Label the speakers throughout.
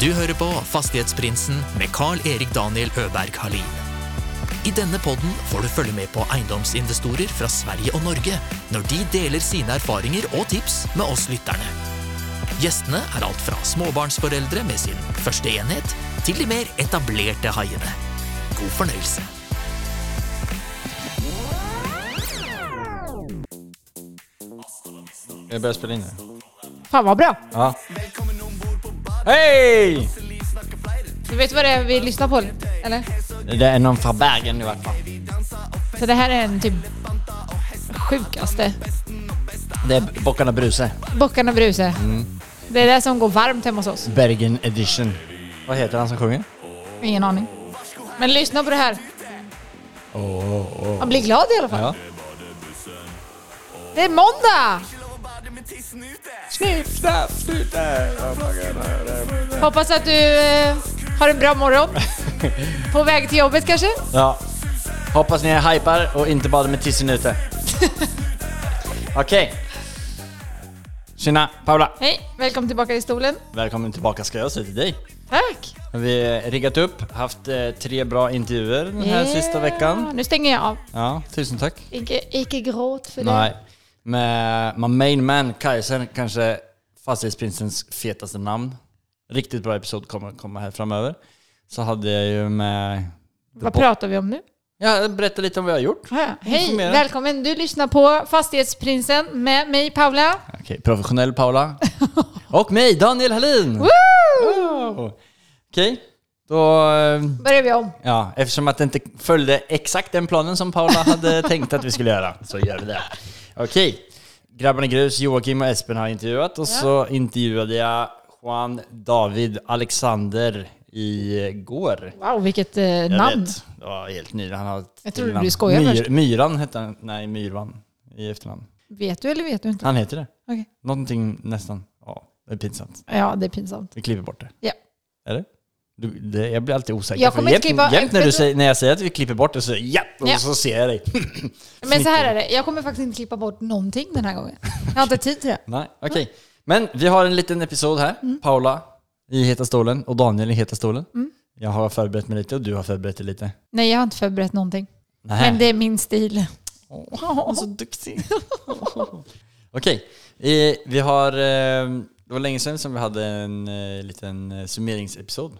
Speaker 1: Du hører på Fastighetsprinsen med Carl-Erik Daniel Øberg Halin. I denne podden får du følge med på eiendomsinvestorer fra Sverige og Norge når de deler sine erfaringer og tips med oss lytterne. Gjestene er alt fra småbarnsforeldre med sin første enhet, til de mer etablerte haiene. God fornøyelse.
Speaker 2: Jag börjar spela in nu.
Speaker 3: Fan vad bra!
Speaker 2: Ja. Hej!
Speaker 3: Du vet vad det är vi lyssnar på? Eller?
Speaker 2: Det är någon från Bergen i alla fall.
Speaker 3: Så det här är en typ sjukaste.
Speaker 2: Det är Bockarna Bruse.
Speaker 3: Bockarna Bruse.
Speaker 2: Mm.
Speaker 3: Det är det som går varmt hemma hos oss.
Speaker 2: Bergen edition. Vad heter han som sjunger?
Speaker 3: Ingen aning. Men lyssna på det här. Man blir glad i alla fall.
Speaker 2: Ja.
Speaker 3: Det är måndag! Hoppas att du eh, har en bra morgon. På väg till jobbet kanske?
Speaker 2: ja. Hoppas ni är hypar och inte badar med tissen ute. Okej. Tjena, Paula.
Speaker 3: Hej, välkommen tillbaka till stolen.
Speaker 2: Välkommen tillbaka ska jag säga till dig.
Speaker 3: Tack!
Speaker 2: Vi har riggat upp, haft eh, tre bra intervjuer den här
Speaker 3: Yeah.
Speaker 2: sista veckan.
Speaker 3: Nu stänger jag av.
Speaker 2: Ja, tusen tack.
Speaker 3: Icke, icke gråt för
Speaker 2: Nej. Med my main man Kajsen, kanske Fastighetsprinsens fetaste namn. Riktigt bra episod kommer komma här framöver. Så hade jag ju med...
Speaker 3: det. Vad pratar vi om nu?
Speaker 2: Ja, berätta lite om vad jag har gjort.
Speaker 3: Ja, Hej,
Speaker 2: Informera.
Speaker 3: välkommen. Du lyssnar på Fastighetsprinsen med mig Paula.
Speaker 2: Okej, professionell Paula. Och mig, Daniel Hallin! Wow. Okej, då... eh,
Speaker 3: Börjar vi om.
Speaker 2: Ja, eftersom att det inte följde exakt den planen som Paula hade tänkt att vi skulle göra, så gör vi det. Okej. Grabbarna Grus, Joakim och Espen har jag intervjuat och så intervjuade jag Juan David Alexander igår.
Speaker 3: Wow, vilket eh,
Speaker 2: Jag
Speaker 3: namn.
Speaker 2: vet, det var helt ny. Han har ett
Speaker 3: Jag trodde
Speaker 2: till namn.
Speaker 3: du skojade
Speaker 2: Myr,
Speaker 3: först.
Speaker 2: Myran hette han, nej Myrvan i efternamn.
Speaker 3: Vet du eller vet du inte?
Speaker 2: Han heter det.
Speaker 3: Okej.
Speaker 2: Någonting nästan, ja, det är pinsamt.
Speaker 3: Ja, det är pinsamt.
Speaker 2: Vi klipper bort det.
Speaker 3: Ja.
Speaker 2: Är det? Du, det, jag blir alltid osäker.
Speaker 3: Jag
Speaker 2: för
Speaker 3: kommer inte
Speaker 2: jämt-
Speaker 3: klippa-
Speaker 2: Jämt när, du
Speaker 3: vet du-
Speaker 2: säger, när jag säger att vi klipper bort det så ja, och
Speaker 3: Ja.
Speaker 2: så ser jag dig.
Speaker 3: Men så här är det, jag kommer faktiskt inte klippa bort någonting den här gången. Jag har inte tid till det.
Speaker 2: Nej, okej. Men vi har en liten episod här.
Speaker 3: Mm.
Speaker 2: Paula i Heta stolen och Daniel i Heta stolen. Jag har förberett mig lite och du har förberett dig lite.
Speaker 3: Nej, jag har inte förberett någonting.
Speaker 2: Nej.
Speaker 3: Men det är min stil.
Speaker 2: Hon är så duktig. Okej, eh, vi har... eh, Det var länge sedan som vi hade en eh, liten eh, summeringsepisod.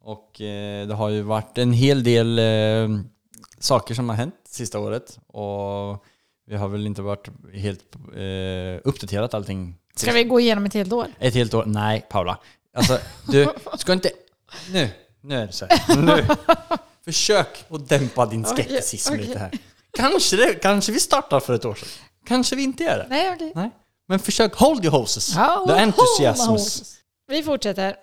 Speaker 2: Och eh, det har ju varit en hel del eh, saker som har hänt sista året. Och vi har väl inte varit helt eh, uppdaterat allting.
Speaker 3: Ska vi gå igenom ett helt år?
Speaker 2: Ett helt år? Nej, Paula. Alltså, du ska inte... Nu, nu är det så här. Nu. Försök att dämpa din skepticism
Speaker 3: okej.
Speaker 2: lite här. Kanske, det, kanske vi startar för ett år sedan. Kanske vi inte gör det.
Speaker 3: Nej, okej.
Speaker 2: Nej. Men försök, hold your horses.
Speaker 3: Ja,
Speaker 2: The
Speaker 3: hold my
Speaker 2: enthusiasms.
Speaker 3: horses. Vi fortsätter.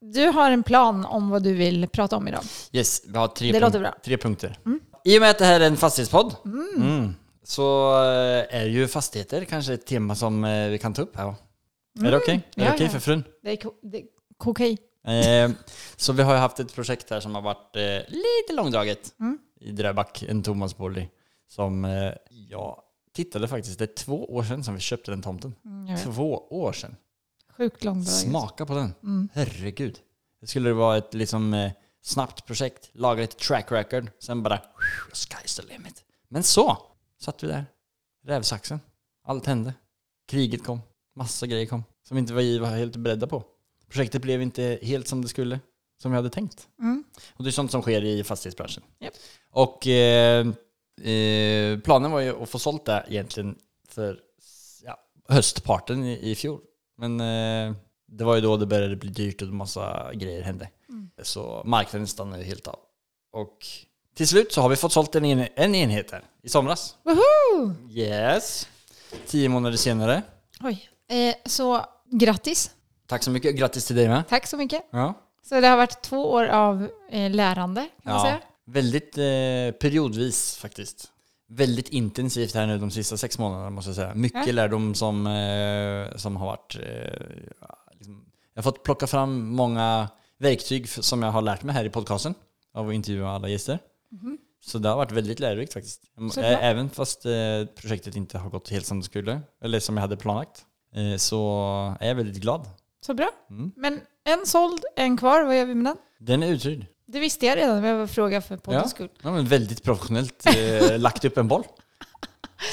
Speaker 3: Du har en plan om vad du vill prata om idag.
Speaker 2: Yes, vi har tre,
Speaker 3: Det
Speaker 2: punk-
Speaker 3: låter bra. Mm.
Speaker 2: tre punkter. I och med att det här är en fastighetspodd mm, så eh, är ju fastigheter kanske ett tema som eh, vi kan ta upp här. va? Är det okej? Är det
Speaker 3: Mm. ja,
Speaker 2: okej
Speaker 3: ja.
Speaker 2: för frun?
Speaker 3: Det är ko- det är okej.
Speaker 2: Eh, så vi har ju haft ett projekt här som har varit eh, lite långdraget i Dröback, en Thomasbolig. Som eh, jag tittade faktiskt, det är två år sedan som vi köpte den tomten.
Speaker 3: Mm, jag vet.
Speaker 2: två år sedan.
Speaker 3: Sjukt långdraget.
Speaker 2: Smaka på den.
Speaker 3: Mm.
Speaker 2: Herregud. Det skulle vara ett liksom, eh, snabbt projekt, laga lite track record, sen bara sky's the limit. Men så satt vi där, rävsaxen. Allt hände. Kriget kom. Massa grejer kom som inte vi var helt beredda på. Projektet blev inte helt som det skulle, som vi hade tänkt.
Speaker 3: Mm.
Speaker 2: Och det är sånt som sker i fastighetsbranschen.
Speaker 3: Japp.
Speaker 2: Och eh, eh, planen var ju att få sålt det egentligen för ja, höstparten i, i fjol. Men eh, det var ju då det började bli dyrt och massa grejer hände. Så marknaden stannade ju helt av. Och till slut så har vi fått sålt en, en, en enhet här i somras.
Speaker 3: Woho!
Speaker 2: Yes. Tio månader senare.
Speaker 3: Oj. Eh, så grattis.
Speaker 2: Tack så mycket. Grattis till dig med.
Speaker 3: Tack så mycket.
Speaker 2: Ja.
Speaker 3: Så det har varit två år av eh, lärande kan man
Speaker 2: Ja,
Speaker 3: säga.
Speaker 2: väldigt eh, periodvis faktiskt. Väldigt intensivt här nu de sista sex månaderna måste jag säga. Mycket
Speaker 3: Ja.
Speaker 2: lärdom som, eh, som har varit... Eh, liksom, jag har fått plocka fram många verktyg f- som jag har lärt mig här i podcasten av att intervjua alla gäster. Så det har varit väldigt lärorikt faktiskt.
Speaker 3: Mhm.
Speaker 2: Mm,
Speaker 3: Så
Speaker 2: Ä-
Speaker 3: bra.
Speaker 2: Även fast eh, projektet inte har gått helt som det skulle, eller som jag hade planlagt, eh, så är jag väldigt glad.
Speaker 3: Så bra.
Speaker 2: Mm.
Speaker 3: Men En såld, en kvar. Vad gör vi med den?
Speaker 2: Den är uthyrd.
Speaker 3: Det visste jag redan, men jag bara frågar för poddens
Speaker 2: Ja.
Speaker 3: skull.
Speaker 2: ja, men väldigt professionellt eh, lagt upp en boll.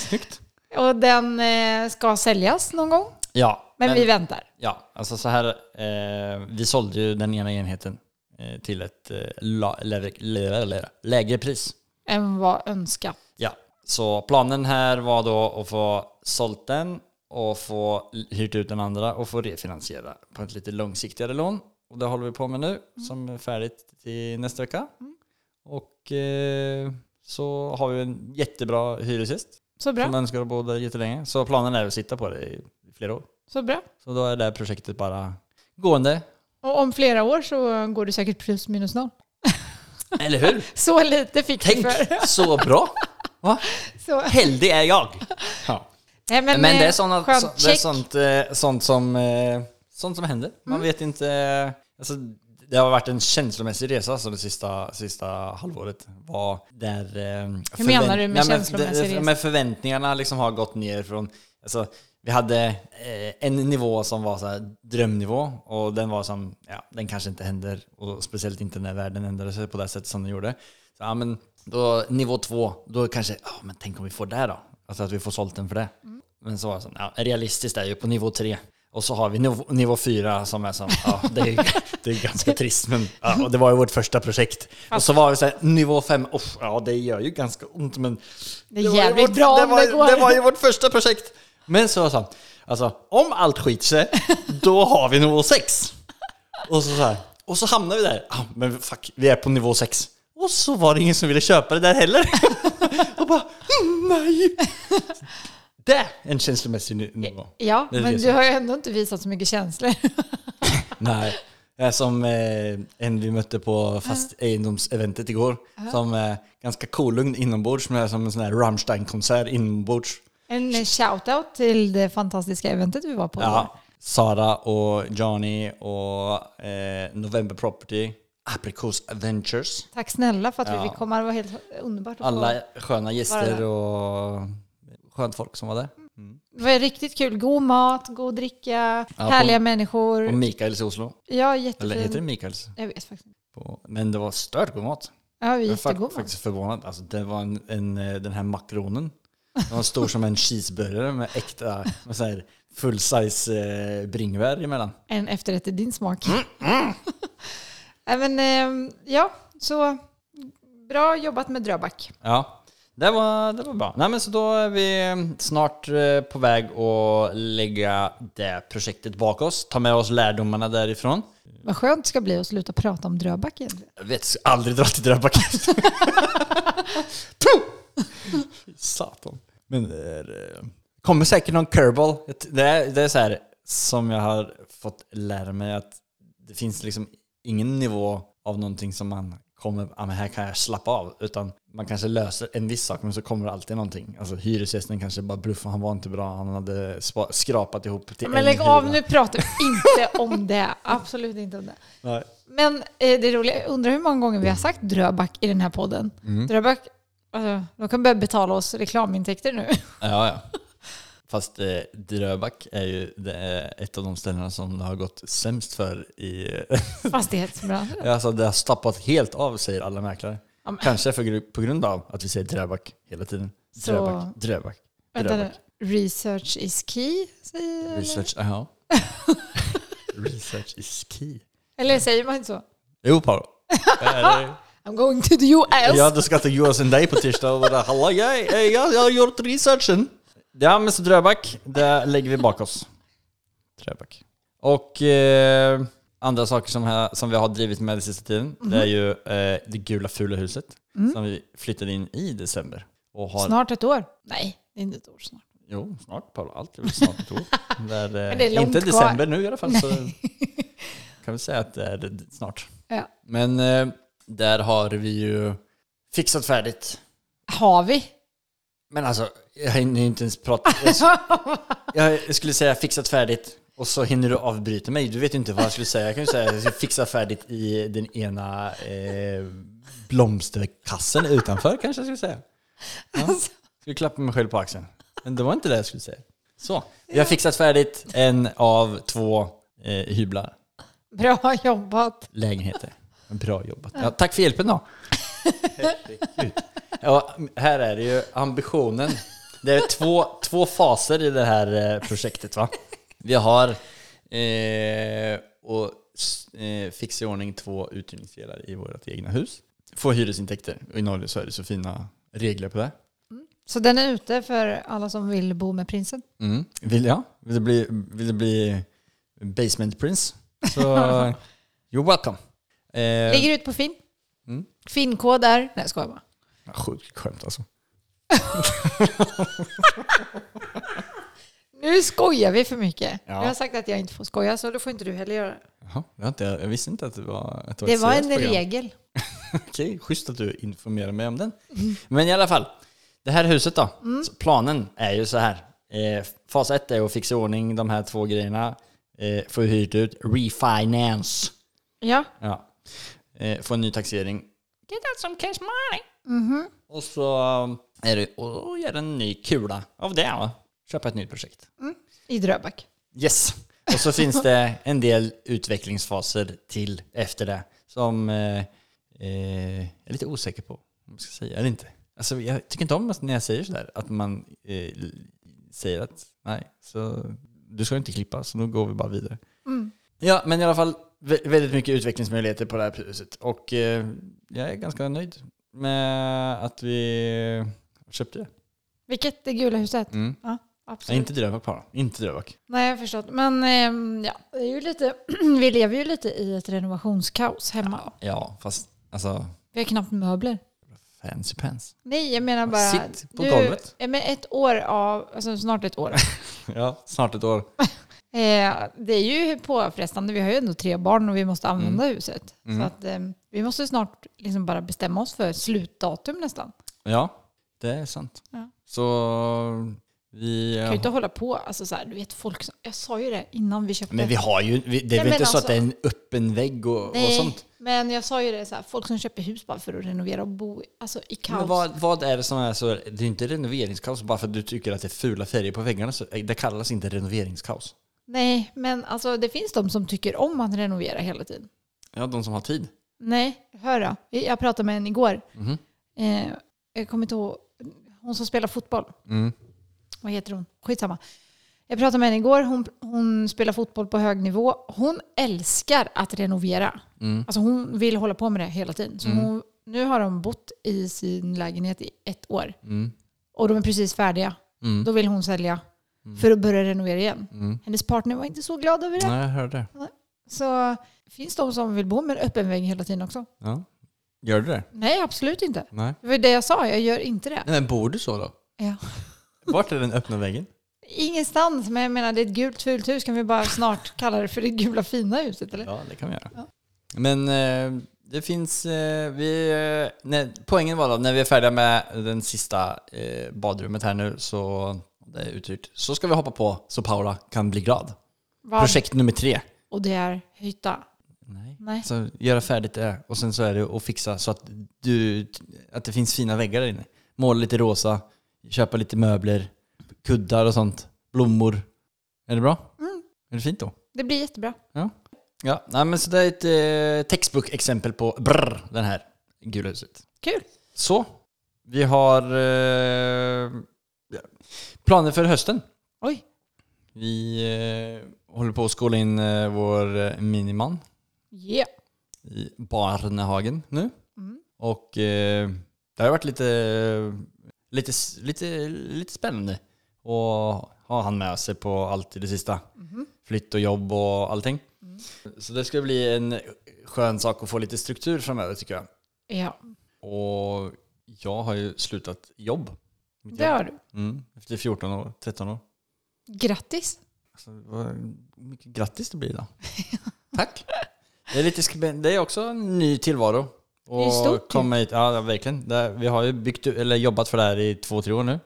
Speaker 2: Snyggt.
Speaker 3: Och den eh, ska säljas någon gång.
Speaker 2: Ja,
Speaker 3: Men, vi väntar.
Speaker 2: ja, alltså så här. Eh, vi sålde ju den ena enheten eh, till ett eh, la, lägre, lägre, lägre pris.
Speaker 3: Än vad önskat.
Speaker 2: Ja, så planen här var då att få sålt den och få hyrt ut den andra och få refinansiera på ett lite långsiktigare lån. Och det håller vi på med nu
Speaker 3: Mm.
Speaker 2: som är färdigt till nästa vecka. Och eh, så har vi en jättebra hyresgäst
Speaker 3: Så bra.
Speaker 2: som önskar att bo där jättelänge. Så planen är att sitta på det i flera år.
Speaker 3: Så bra.
Speaker 2: Så då är det här projektet bara gående.
Speaker 3: Och om flera år så går det säkert plus minus noll.
Speaker 2: Eller hur?
Speaker 3: Så lite fick vi
Speaker 2: Tänk
Speaker 3: för.
Speaker 2: så bra! Va?
Speaker 3: Så.
Speaker 2: Heldig är jag! Ja.
Speaker 3: Nej, men,
Speaker 2: Men det är,
Speaker 3: eh,
Speaker 2: såna,
Speaker 3: skönt.
Speaker 2: så, det är
Speaker 3: Check.
Speaker 2: sånt, eh, sånt, som, eh, sånt som händer. Man
Speaker 3: Mm.
Speaker 2: vet inte. eh, Alltså, det har varit en känslomässig resa alltså, det sista, sista halvåret. Var där, eh, Hur
Speaker 3: menar du med känslomässig resa?
Speaker 2: Men förväntningarna liksom har gått ner från... Alltså, vi hade eh, en nivå som var så här, drömnivå och den var som, ja, den kanske inte händer. Och speciellt inte när världen ändrade sig på det sättet som den gjorde. Så, ja, men, då, nivå två, då kanske, ja men tänk om vi får det då? Alltså att vi får sålt den för det. Men så var det så, ja, realistiskt är ju på nivå tre. Och så har vi nivå, nivå fyra som är som, ja det är, ju- det är ganska trist men ja, och det var ju vårt första projekt. Och så var det så här, nivå fem, oh, ja det gör ju ganska ont men
Speaker 3: Det är
Speaker 2: var ju
Speaker 3: jävligt bra
Speaker 2: det
Speaker 3: om
Speaker 2: var,
Speaker 3: det går.
Speaker 2: Det var ju vårt första projekt. Men så var det så, alltså om allt skiter sig, då har vi nivå sex. Och så, så här, och så hamnar vi där. Ah, men fuck, vi är på nivå 6. Och så var det ingen som ville köpa det där heller. och bara, mm, nej. Det är en känslomässig ny- nivå.
Speaker 3: Ja,
Speaker 2: Det är
Speaker 3: men
Speaker 2: det
Speaker 3: du
Speaker 2: som-
Speaker 3: har ju ändå inte visat så mycket känslor.
Speaker 2: Nej. Det är som eh, en vi mötte på fast egendomseventet igår. Som är ganska kolugn inombords, men är som en sån här Rammstein-konsert inombords.
Speaker 3: En shout-out till det fantastiska eventet vi var på. igår.
Speaker 2: Ja. Sara och Johnny och eh, November Property, Apricos Adventures.
Speaker 3: Tack snälla för att
Speaker 2: Ja.
Speaker 3: vi fick komma. Det var helt underbart att få.
Speaker 2: Alla sköna
Speaker 3: Var
Speaker 2: gäster
Speaker 3: det?
Speaker 2: och skönt folk som var där.
Speaker 3: Det var riktigt kul. God mat, god dricka,
Speaker 2: Ja,
Speaker 3: härliga
Speaker 2: på-
Speaker 3: människor.
Speaker 2: Och Mikaels i Oslo.
Speaker 3: ja,
Speaker 2: Eller heter det
Speaker 3: jättefin.
Speaker 2: Mikaels?
Speaker 3: Jag vet faktiskt inte.
Speaker 2: På, men det var stört god mat.
Speaker 3: Ja, vi är
Speaker 2: Jag är fak-
Speaker 3: jättegod mat.
Speaker 2: faktiskt förvånad. Alltså, det var en, en, eh, den här makronen. Den var stor som en cheeseburgare med äkta med så här full size eh, bringebär emellan.
Speaker 3: En efterrätt i din smak.
Speaker 2: Mm,
Speaker 3: Nej, men, ehm, ja, så bra jobbat med Dröback.
Speaker 2: Ja, det var, det var bra. Nej, men så då är vi snart eh, på väg att lägga det projektet bak oss. Ta med oss lärdomarna därifrån.
Speaker 3: Vad skönt det ska bli att sluta prata om Dröback egentligen.
Speaker 2: Jag vet, ska aldrig dra till Dröbbacket. Puh! Fy Satan. Men det är, eh, kommer säkert någon curveball. Jag t- Det är, det är så här som jag har fått lära mig att det finns liksom ingen nivå av någonting som man kommer, ah, men här kan jag slappa av. Utan man kanske löser en viss sak men så kommer det alltid någonting. Alltså hyresgästen kanske bara bluffar, han var inte bra, han hade spa- skrapat ihop till
Speaker 3: Men
Speaker 2: en
Speaker 3: lägg av,
Speaker 2: hyra.
Speaker 3: nu pratar vi inte om det. Absolut inte om det.
Speaker 2: Nej.
Speaker 3: Men eh, det roliga, jag undrar hur många gånger vi har sagt Dröback i den här podden.
Speaker 2: Mm.
Speaker 3: Dröback, alltså, de kan börja betala oss reklamintäkter nu.
Speaker 2: Ja, ja. Fast eh, Dröback är ju det är ett av de ställena som det har gått sämst för i...
Speaker 3: Fastighetsbranschen.
Speaker 2: alltså det har stappat helt av, säger alla mäklare.
Speaker 3: Ja, men-
Speaker 2: Kanske för, gru- på grund av att vi säger Dröback hela tiden.
Speaker 3: Så-
Speaker 2: Dröback, Dröback,
Speaker 3: Vänta nu.
Speaker 2: Dröback.
Speaker 3: Research is key, säger
Speaker 2: Research, aha. Research is key.
Speaker 3: Eller säger man inte så?
Speaker 2: Jo, Paolo. Eller-
Speaker 3: I'm going to the US.
Speaker 2: Ja, du ska till US and Day på tisdag och bara “Hallå, jag, jag, jag har gjort researchen”. Ja, men så Dröback, det lägger vi bak oss. Dröback. Och eh, andra saker som, här, som vi har drivit med den sista tiden, det är
Speaker 3: Mhm.
Speaker 2: ju eh, det gula fula huset som vi flyttade in i december. Och har,
Speaker 3: Mm. Snart ett år. Nej, det är inte ett år snart.
Speaker 2: Jo, snart Paolo. Allt är väl snart ett år. Det är, eh,
Speaker 3: Men det är långt
Speaker 2: inte
Speaker 3: kvar.
Speaker 2: december nu i alla fall, så kan vi säga att det är snart.
Speaker 3: Ja.
Speaker 2: Men eh, där har vi ju fixat färdigt
Speaker 3: Har vi?
Speaker 2: Men alltså, jag hinner ju inte ens prata. Jag, jag skulle säga fixat färdigt och så hinner du avbryta mig. Du vet ju inte vad jag skulle säga. Jag kan ju säga att jag ska fixa färdigt i den ena eh, blomsterkassen utanför kanske jag skulle säga.
Speaker 3: Alltså,
Speaker 2: Jag skulle klappa mig själv på axeln. Men det var inte det jag skulle säga. Så, vi har fixat färdigt en av två eh, hyblar.
Speaker 3: Bra jobbat.
Speaker 2: lägenheter. Bra jobbat. Ja, tack för hjälpen då. Herregud. Ja, här är det ju ambitionen. Det är två, två faser i det här eh, projektet. Va? Vi har eh, och s- eh, fixa i ordning två uthyrningsdelar i vårt egna hus. Få hyresintäkter. Och I Norge så är det så fina regler på det.
Speaker 3: Så den är ute för alla som vill bo med prinsen.
Speaker 2: Mm. Vill, ja. vill, du bli, vill du bli basement prince? Så you're welcome. Eh,
Speaker 3: Ligger ut på Finn.
Speaker 2: Mm.
Speaker 3: Finnkod där. Nej, jag skojar bara.
Speaker 2: Ja, Sjukt skämt alltså.
Speaker 3: Nu skojar vi för mycket.
Speaker 2: Ja.
Speaker 3: Jag har sagt att jag inte får skoja, så då får inte du heller göra det.
Speaker 2: Jaha, jag, har inte, jag visste inte att det var, att det var
Speaker 3: Det
Speaker 2: ett
Speaker 3: var en
Speaker 2: seriöst program.
Speaker 3: regel.
Speaker 2: Okej, schysst att du informerar mig om den. Men i alla fall, det här huset då.
Speaker 3: Mm.
Speaker 2: Så planen är ju så här. Eh, fas ett är att fixa i ordning de här två grejerna. Eh, få hyrt ut, refinance.
Speaker 3: Ja.
Speaker 2: Ja. Eh, få en ny taxering. Get out some cash money. Och så eh, är det att göra en ny kula av det. Va? Köpa ett nytt projekt.
Speaker 3: I Dröbak.
Speaker 2: Yes. Och så finns det en del utvecklingsfaser till efter det som eh, eh, jag är lite osäker på om jag ska säga eller inte. Alltså, jag tycker inte om att- när jag säger sådär, att man eh, säger att nej, så du ska inte klippa, så nu går vi bara vidare. Ja, men i alla fall vä- väldigt mycket utvecklingsmöjligheter på det här huset och eh, jag är ganska nöjd med att vi köpte det.
Speaker 3: Vilket? Det gula huset?
Speaker 2: Mm.
Speaker 3: Ja,
Speaker 2: Nej,
Speaker 3: absolut.
Speaker 2: inte Drövak bara, inte Drövak.
Speaker 3: Nej, jag har förstått. Men ehm, ja, det är ju lite, vi lever ju lite i ett renovationskaos hemma.
Speaker 2: Ja, fast alltså
Speaker 3: Vi har knappt möbler.
Speaker 2: fancy pants.
Speaker 3: Nej, jag menar bara...
Speaker 2: Sitt på
Speaker 3: du-
Speaker 2: golvet.
Speaker 3: Ja, men ett år av, alltså snart ett år.
Speaker 2: Ja, snart ett år.
Speaker 3: Eh, det är ju påfrestande. Vi har ju ändå tre barn och vi måste använda
Speaker 2: Mm.
Speaker 3: huset. Så att, ehm, vi måste snart liksom bara bestämma oss för slutdatum nästan.
Speaker 2: Ja, det är sant.
Speaker 3: Ja.
Speaker 2: Så vi...
Speaker 3: Vi kan ju inte hålla på. Alltså, så här, du vet, folk, som- jag sa ju det innan vi köpte.
Speaker 2: Men vi har ju... Vi, det är
Speaker 3: Nej,
Speaker 2: väl inte
Speaker 3: men
Speaker 2: så att det är en
Speaker 3: alltså-
Speaker 2: öppen vägg och, och
Speaker 3: Nej,
Speaker 2: sånt?
Speaker 3: men jag sa ju det, så här, folk som köper hus bara för att renovera och bo i- alltså, i kaos.
Speaker 2: Men vad, vad är det som är så... Det är ju inte renoveringskaos bara för att du tycker att det är fula färger på väggarna. Så det kallas inte renoveringskaos.
Speaker 3: Nej, men alltså, det finns de som tycker om att renovera hela tiden.
Speaker 2: Ja, de som har tid.
Speaker 3: Nej, hör då. Jag pratade med en igår. Eh, jag kommer inte ihåg. Hon som spelar fotboll. Vad heter hon? Skitsamma. Jag pratade med henne igår. Hon, hon spelar fotboll på hög nivå. Hon älskar att renovera. Alltså hon vill hålla på med det hela tiden. Så hon, nu har de bott i sin lägenhet i ett år.
Speaker 2: Mm,
Speaker 3: Och de är precis färdiga. Då vill hon sälja för att börja renovera igen. Hennes partner var inte så glad över det.
Speaker 2: mm. jag hörde det.
Speaker 3: Så finns de som vill bo med en öppen vägg hela tiden också?
Speaker 2: Ja. Gör du det?
Speaker 3: Nej, absolut inte.
Speaker 2: Nej.
Speaker 3: Det var ju det jag sa, jag gör inte det.
Speaker 2: Nej, men bor du så då?
Speaker 3: Ja.
Speaker 2: Vart är den öppna väggen?
Speaker 3: Ingenstans, men jag menar det är ett gult fult hus. Kan vi bara snart kalla det för det gula fina huset? Eller?
Speaker 2: Ja, det kan vi göra. Men eh, det finns... Eh, vi, eh, nej, poängen var då, när vi är färdiga med den sista eh, badrummet här nu, så det är uthyrt, så ska vi hoppa på så Paula kan bli glad.
Speaker 3: Vad-
Speaker 2: Projekt nummer tre.
Speaker 3: Och det är hytta.
Speaker 2: Nej.
Speaker 3: Nej.
Speaker 2: Så göra färdigt det och sen så är det att fixa så att, du, att det finns fina väggar där inne. Måla lite rosa, köpa lite möbler, kuddar och sånt, blommor. Är det bra? Är det fint då?
Speaker 3: Det blir jättebra.
Speaker 2: Ja, ja nej, men så det är ett eh, textbook-exempel på brr, den här gula huset.
Speaker 3: Kul.
Speaker 2: Så, vi har eh, ja, planer för hösten.
Speaker 3: Oj.
Speaker 2: Vi eh, håller på att skåla in eh, vår eh, miniman
Speaker 3: Yeah.
Speaker 2: i Barnehagen nu.
Speaker 3: Mm.
Speaker 2: Och eh, det har varit lite, lite, lite, lite spännande att ha han med sig på allt i det sista. Flytt och jobb och allting. Så det ska bli en skön sak att få lite struktur framöver tycker jag.
Speaker 3: Ja,
Speaker 2: Och jag har ju slutat jobb. Mitt
Speaker 3: det
Speaker 2: jobb.
Speaker 3: har du.
Speaker 2: Mm, efter 14 år, 13 år.
Speaker 3: Grattis.
Speaker 2: Alltså, vad mycket grattis det blir då. Tack. Det är, lite, skri- det är också en ny tillvaro.
Speaker 3: är stort ju.
Speaker 2: komma hit, ja, ja, verkligen. Det, här- vi har ju byggt, u- eller jobbat för det här i två, tre år nu.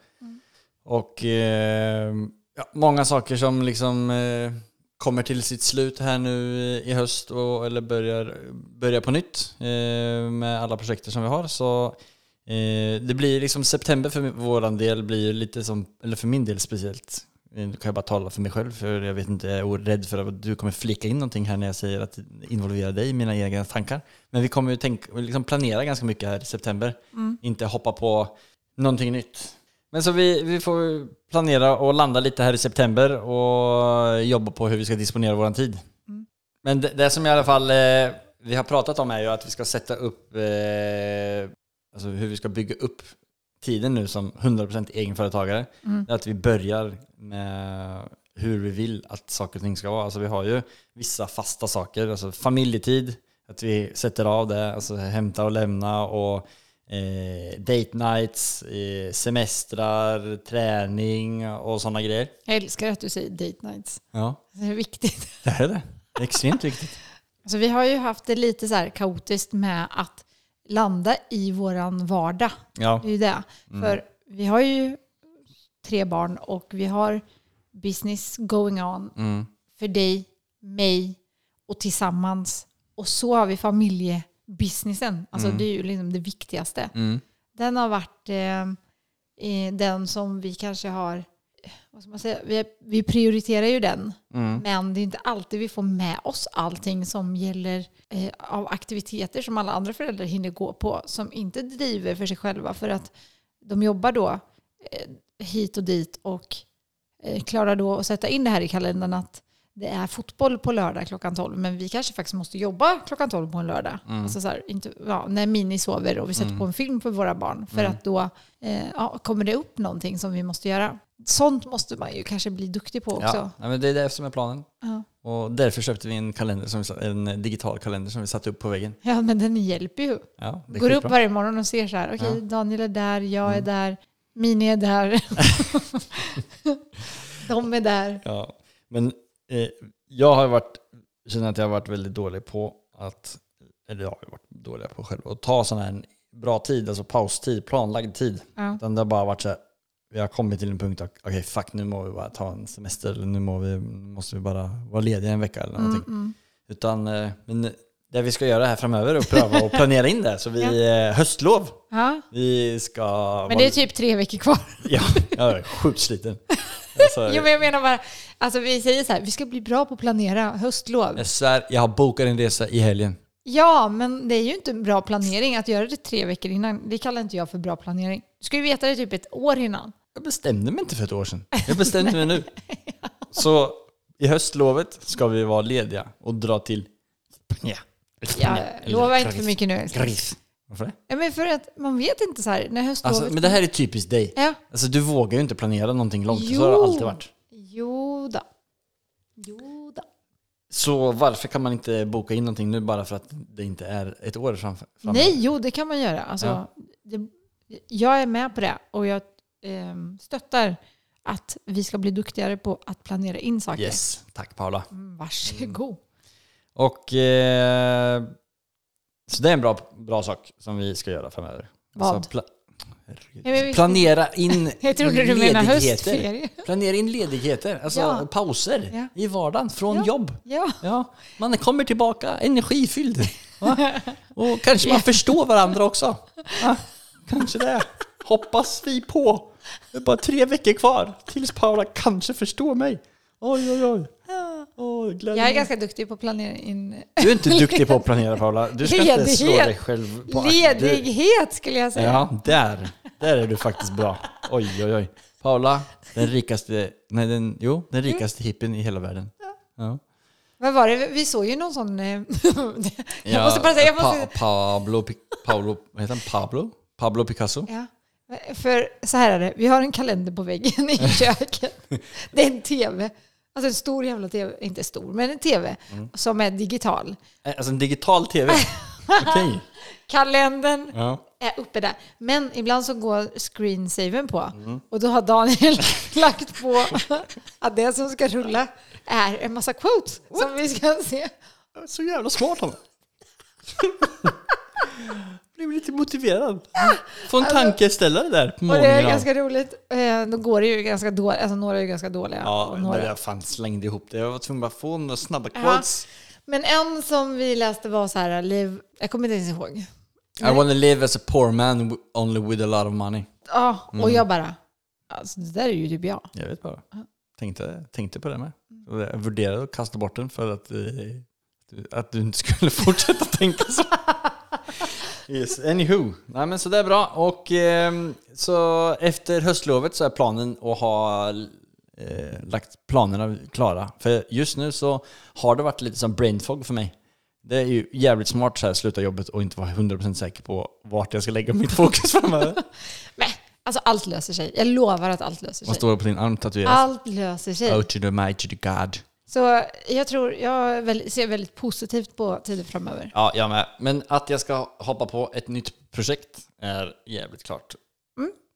Speaker 2: Och eh, ja, många saker som liksom eh, kommer till sitt slut här nu i höst och, eller börjar, börjar på nytt eh, med alla projekter som vi har. Så eh, det blir liksom september för vår del blir lite som, eller för min del speciellt, Nu kan jag bara tala för mig själv, för jag vet inte, jag är rädd för att du kommer flika in någonting här när jag säger att involvera dig i mina egna tankar. Men vi kommer ju tänka, liksom planera ganska mycket här i september. Inte hoppa på någonting nytt. Men så vi, vi får planera och landa lite här i september och jobba på hur vi ska disponera vår tid. Men det, det som i alla fall eh, vi har pratat om är ju att vi ska sätta upp, eh, alltså hur vi ska bygga upp tiden nu som 100% egenföretagare.
Speaker 3: Mm.
Speaker 2: Det är att vi börjar med hur vi vill att saker och ting ska vara. Alltså vi har ju vissa fasta saker, alltså familjetid, att vi sätter av det, alltså hämta och lämna och eh, date nights, eh, semestrar, träning och sådana grejer.
Speaker 3: Jag älskar att du säger date nights.
Speaker 2: Ja,
Speaker 3: Det är viktigt.
Speaker 2: det är det. Det är Extremt viktigt.
Speaker 3: Alltså, vi har ju haft det lite så här kaotiskt med att landa i våran vardag.
Speaker 2: Ja. Mm.
Speaker 3: Det är ju det. För vi har ju tre barn och vi har business going on
Speaker 2: Mm.
Speaker 3: för dig, mig och tillsammans. Och så har vi familjebusinessen. Alltså det är ju liksom det viktigaste.
Speaker 2: Mm.
Speaker 3: Den har varit eh, eh, den som vi kanske har, eh, vad ska man säga, vi, vi prioriterar ju den.
Speaker 2: Mm.
Speaker 3: Men det är inte alltid vi får med oss allting som gäller eh, av aktiviteter som alla andra föräldrar hinner gå på, som inte driver för sig själva för att de jobbar då eh, hit och dit och eh, klarar då att sätta in det här i kalendern att det är fotboll på lördag klockan 12, men vi kanske faktiskt måste jobba klockan 12 på en lördag.
Speaker 2: Mm.
Speaker 3: Alltså så här, inte, ja, när Mini sover och vi sätter på en film för våra barn.
Speaker 2: Mm.
Speaker 3: För att då eh, ja, kommer det upp någonting som vi måste göra. Sånt måste man ju kanske bli duktig på också.
Speaker 2: Ja, ja, men det är det som är planen.
Speaker 3: Ja.
Speaker 2: Och därför köpte vi en, kalender som vi, sa- en digital kalender som vi satte upp på väggen.
Speaker 3: Ja, men den hjälper ju.
Speaker 2: Ja, det är
Speaker 3: Går upp
Speaker 2: skitbra.
Speaker 3: varje morgon och ser så här, okej,
Speaker 2: Ja. Mm.
Speaker 3: Daniel är där, jag är där, Mini är där. De är där.
Speaker 2: Ja, men eh, jag har varit, känner att jag har varit väldigt dålig på att, eller jag har ju varit dålig på själv, att ta sån här bra tid, alltså paustid, planlagd tid.
Speaker 3: Ja.
Speaker 2: Utan det har bara varit så här, vi har kommit till en punkt att okej fuck nu må vi bara ta en semester eller nu må vi, måste vi bara vara lediga en vecka eller någonting.
Speaker 3: Mm,
Speaker 2: Utan, eh, men det vi ska göra här framöver är att pröva och planera in det. Så vi, eh, höstlov,
Speaker 3: Ja.
Speaker 2: vi ska...
Speaker 3: Men det är typ tre veckor kvar.
Speaker 2: Ja, jag är sjukt sliten. Alltså,
Speaker 3: Jo, men jag menar bara, alltså vi säger så här, vi ska bli bra på att planera höstlov.
Speaker 2: jag svär, jag har bokat en resa i helgen.
Speaker 3: Ja, men det är ju inte en bra planering att göra det tre veckor innan. Det kallar inte jag för bra planering. Du ska ju veta det typ ett år innan.
Speaker 2: Jag bestämde mig inte för ett år sedan. Jag bestämde mig nu. Så i höstlovet ska vi vara lediga och dra till Spanien.
Speaker 3: Jag
Speaker 2: Eller
Speaker 3: lovar inte
Speaker 2: Gris.
Speaker 3: för mycket nu. älskling.
Speaker 2: Gris. Varför det?
Speaker 3: Ja, men för att man vet inte så här när höstlovet...
Speaker 2: Alltså, men det här är typiskt dig.
Speaker 3: Ja.
Speaker 2: Alltså, du vågar ju inte planera någonting långt. Så har det
Speaker 3: Jo.
Speaker 2: alltid varit.
Speaker 3: Jo då. Jo då.
Speaker 2: Så varför kan man inte boka in någonting nu bara för att det inte är ett år framför? framöver?
Speaker 3: Nej, jo det kan man göra. Alltså,
Speaker 2: Ja.
Speaker 3: det, jag är med på det och jag ehm, stöttar att vi ska bli duktigare på att planera in saker.
Speaker 2: Yes, tack Paula.
Speaker 3: Mm, Varsågod.
Speaker 2: Och eh, så det är en bra, bra sak som vi ska göra framöver.
Speaker 3: Vad?
Speaker 2: Alltså, pla-
Speaker 3: Ja, men vi-
Speaker 2: planera in
Speaker 3: Jag trodde du menade
Speaker 2: ledigheter.
Speaker 3: höstferie.
Speaker 2: Planera in ledigheter, alltså
Speaker 3: Ja.
Speaker 2: pauser
Speaker 3: Ja.
Speaker 2: i vardagen från
Speaker 3: Ja.
Speaker 2: jobb.
Speaker 3: Ja.
Speaker 2: Ja, man kommer tillbaka energifylld. Va? Och kanske man förstår varandra också. Ja, kanske det. Hoppas vi på. Det är bara tre veckor kvar tills Paula kanske förstår mig. Oj, oj, oj. Oj, glädje
Speaker 3: Jag är
Speaker 2: mig.
Speaker 3: ganska duktig på att planera in
Speaker 2: Du är inte duktig på att planera Paula. Du ska inte slå
Speaker 3: Ledighet.
Speaker 2: dig själv på axeln. Du-
Speaker 3: ledighet skulle jag säga.
Speaker 2: Ja, där. Där är du faktiskt bra. Oj, oj, oj. Paula, den rikaste, nej den, jo, den rikaste hippen i hela världen. Ja.
Speaker 3: Vad var det? Vi såg ju någon sån... eh, jag måste bara säga... Jag måste,
Speaker 2: Pa, Pablo, Pic- Paolo, vad heter han? Pablo? Pablo Picasso?
Speaker 3: Ja. För så här är det, vi har en kalender på väggen i köket. Det är en tv. Alltså en stor jävla tv, inte stor, men en tv
Speaker 2: Mm.
Speaker 3: som är digital.
Speaker 2: Eh, Alltså en digital tv. Okej.
Speaker 3: Kalendern
Speaker 2: Ja.
Speaker 3: är uppe där. Men ibland så går screensavern på
Speaker 2: Mm.
Speaker 3: och då har Daniel lagt på att det som ska rulla är en massa quotes som vi ska se.
Speaker 2: Så jävla smart han är. Blev lite motiverad. Få en tankeställare där på
Speaker 3: Ah! Alltså- Och det är
Speaker 2: morgonen.
Speaker 3: ganska roligt. Eh, Då går det ju ganska dåligt, alltså några är ju ganska dåliga.
Speaker 2: Ja,
Speaker 3: och
Speaker 2: men
Speaker 3: några.
Speaker 2: jag fan slängde ihop det. Jag var tvungen att få några snabba
Speaker 3: Ja.
Speaker 2: quotes.
Speaker 3: Men en som vi läste var så här, liv, jag kommer inte ens ihåg.
Speaker 2: I wanna live as a poor man w- only with a lot of money.
Speaker 3: Ja, och jag bara, alltså det där är ju typ jag.
Speaker 2: Jag vet bara. tänkte, tänkte på det med. Och jag värderade att kasta bort den för att, eh, du- att du inte skulle fortsätta tänka så. Yes, anywho. Nej men så det är bra. Och ehm, så efter höstlovet så är planen att ha eh, lagt planerna klara. För just nu så har det varit lite som brain fog för mig. Det är ju jävligt smart så här sluta jobbet och inte vara 100% säker på vart jag ska lägga mitt fokus framöver.
Speaker 3: Men, alltså allt löser sig. Jag lovar att allt löser
Speaker 2: Vad
Speaker 3: sig.
Speaker 2: står det på din arm tatuerat?
Speaker 3: Allt löser sig.
Speaker 2: Oh to the mighty to God.
Speaker 3: Så jag tror, jag väl- ser väldigt positivt på tiden framöver.
Speaker 2: Ja, jag med. Men att jag ska hoppa på ett nytt projekt är jävligt klart.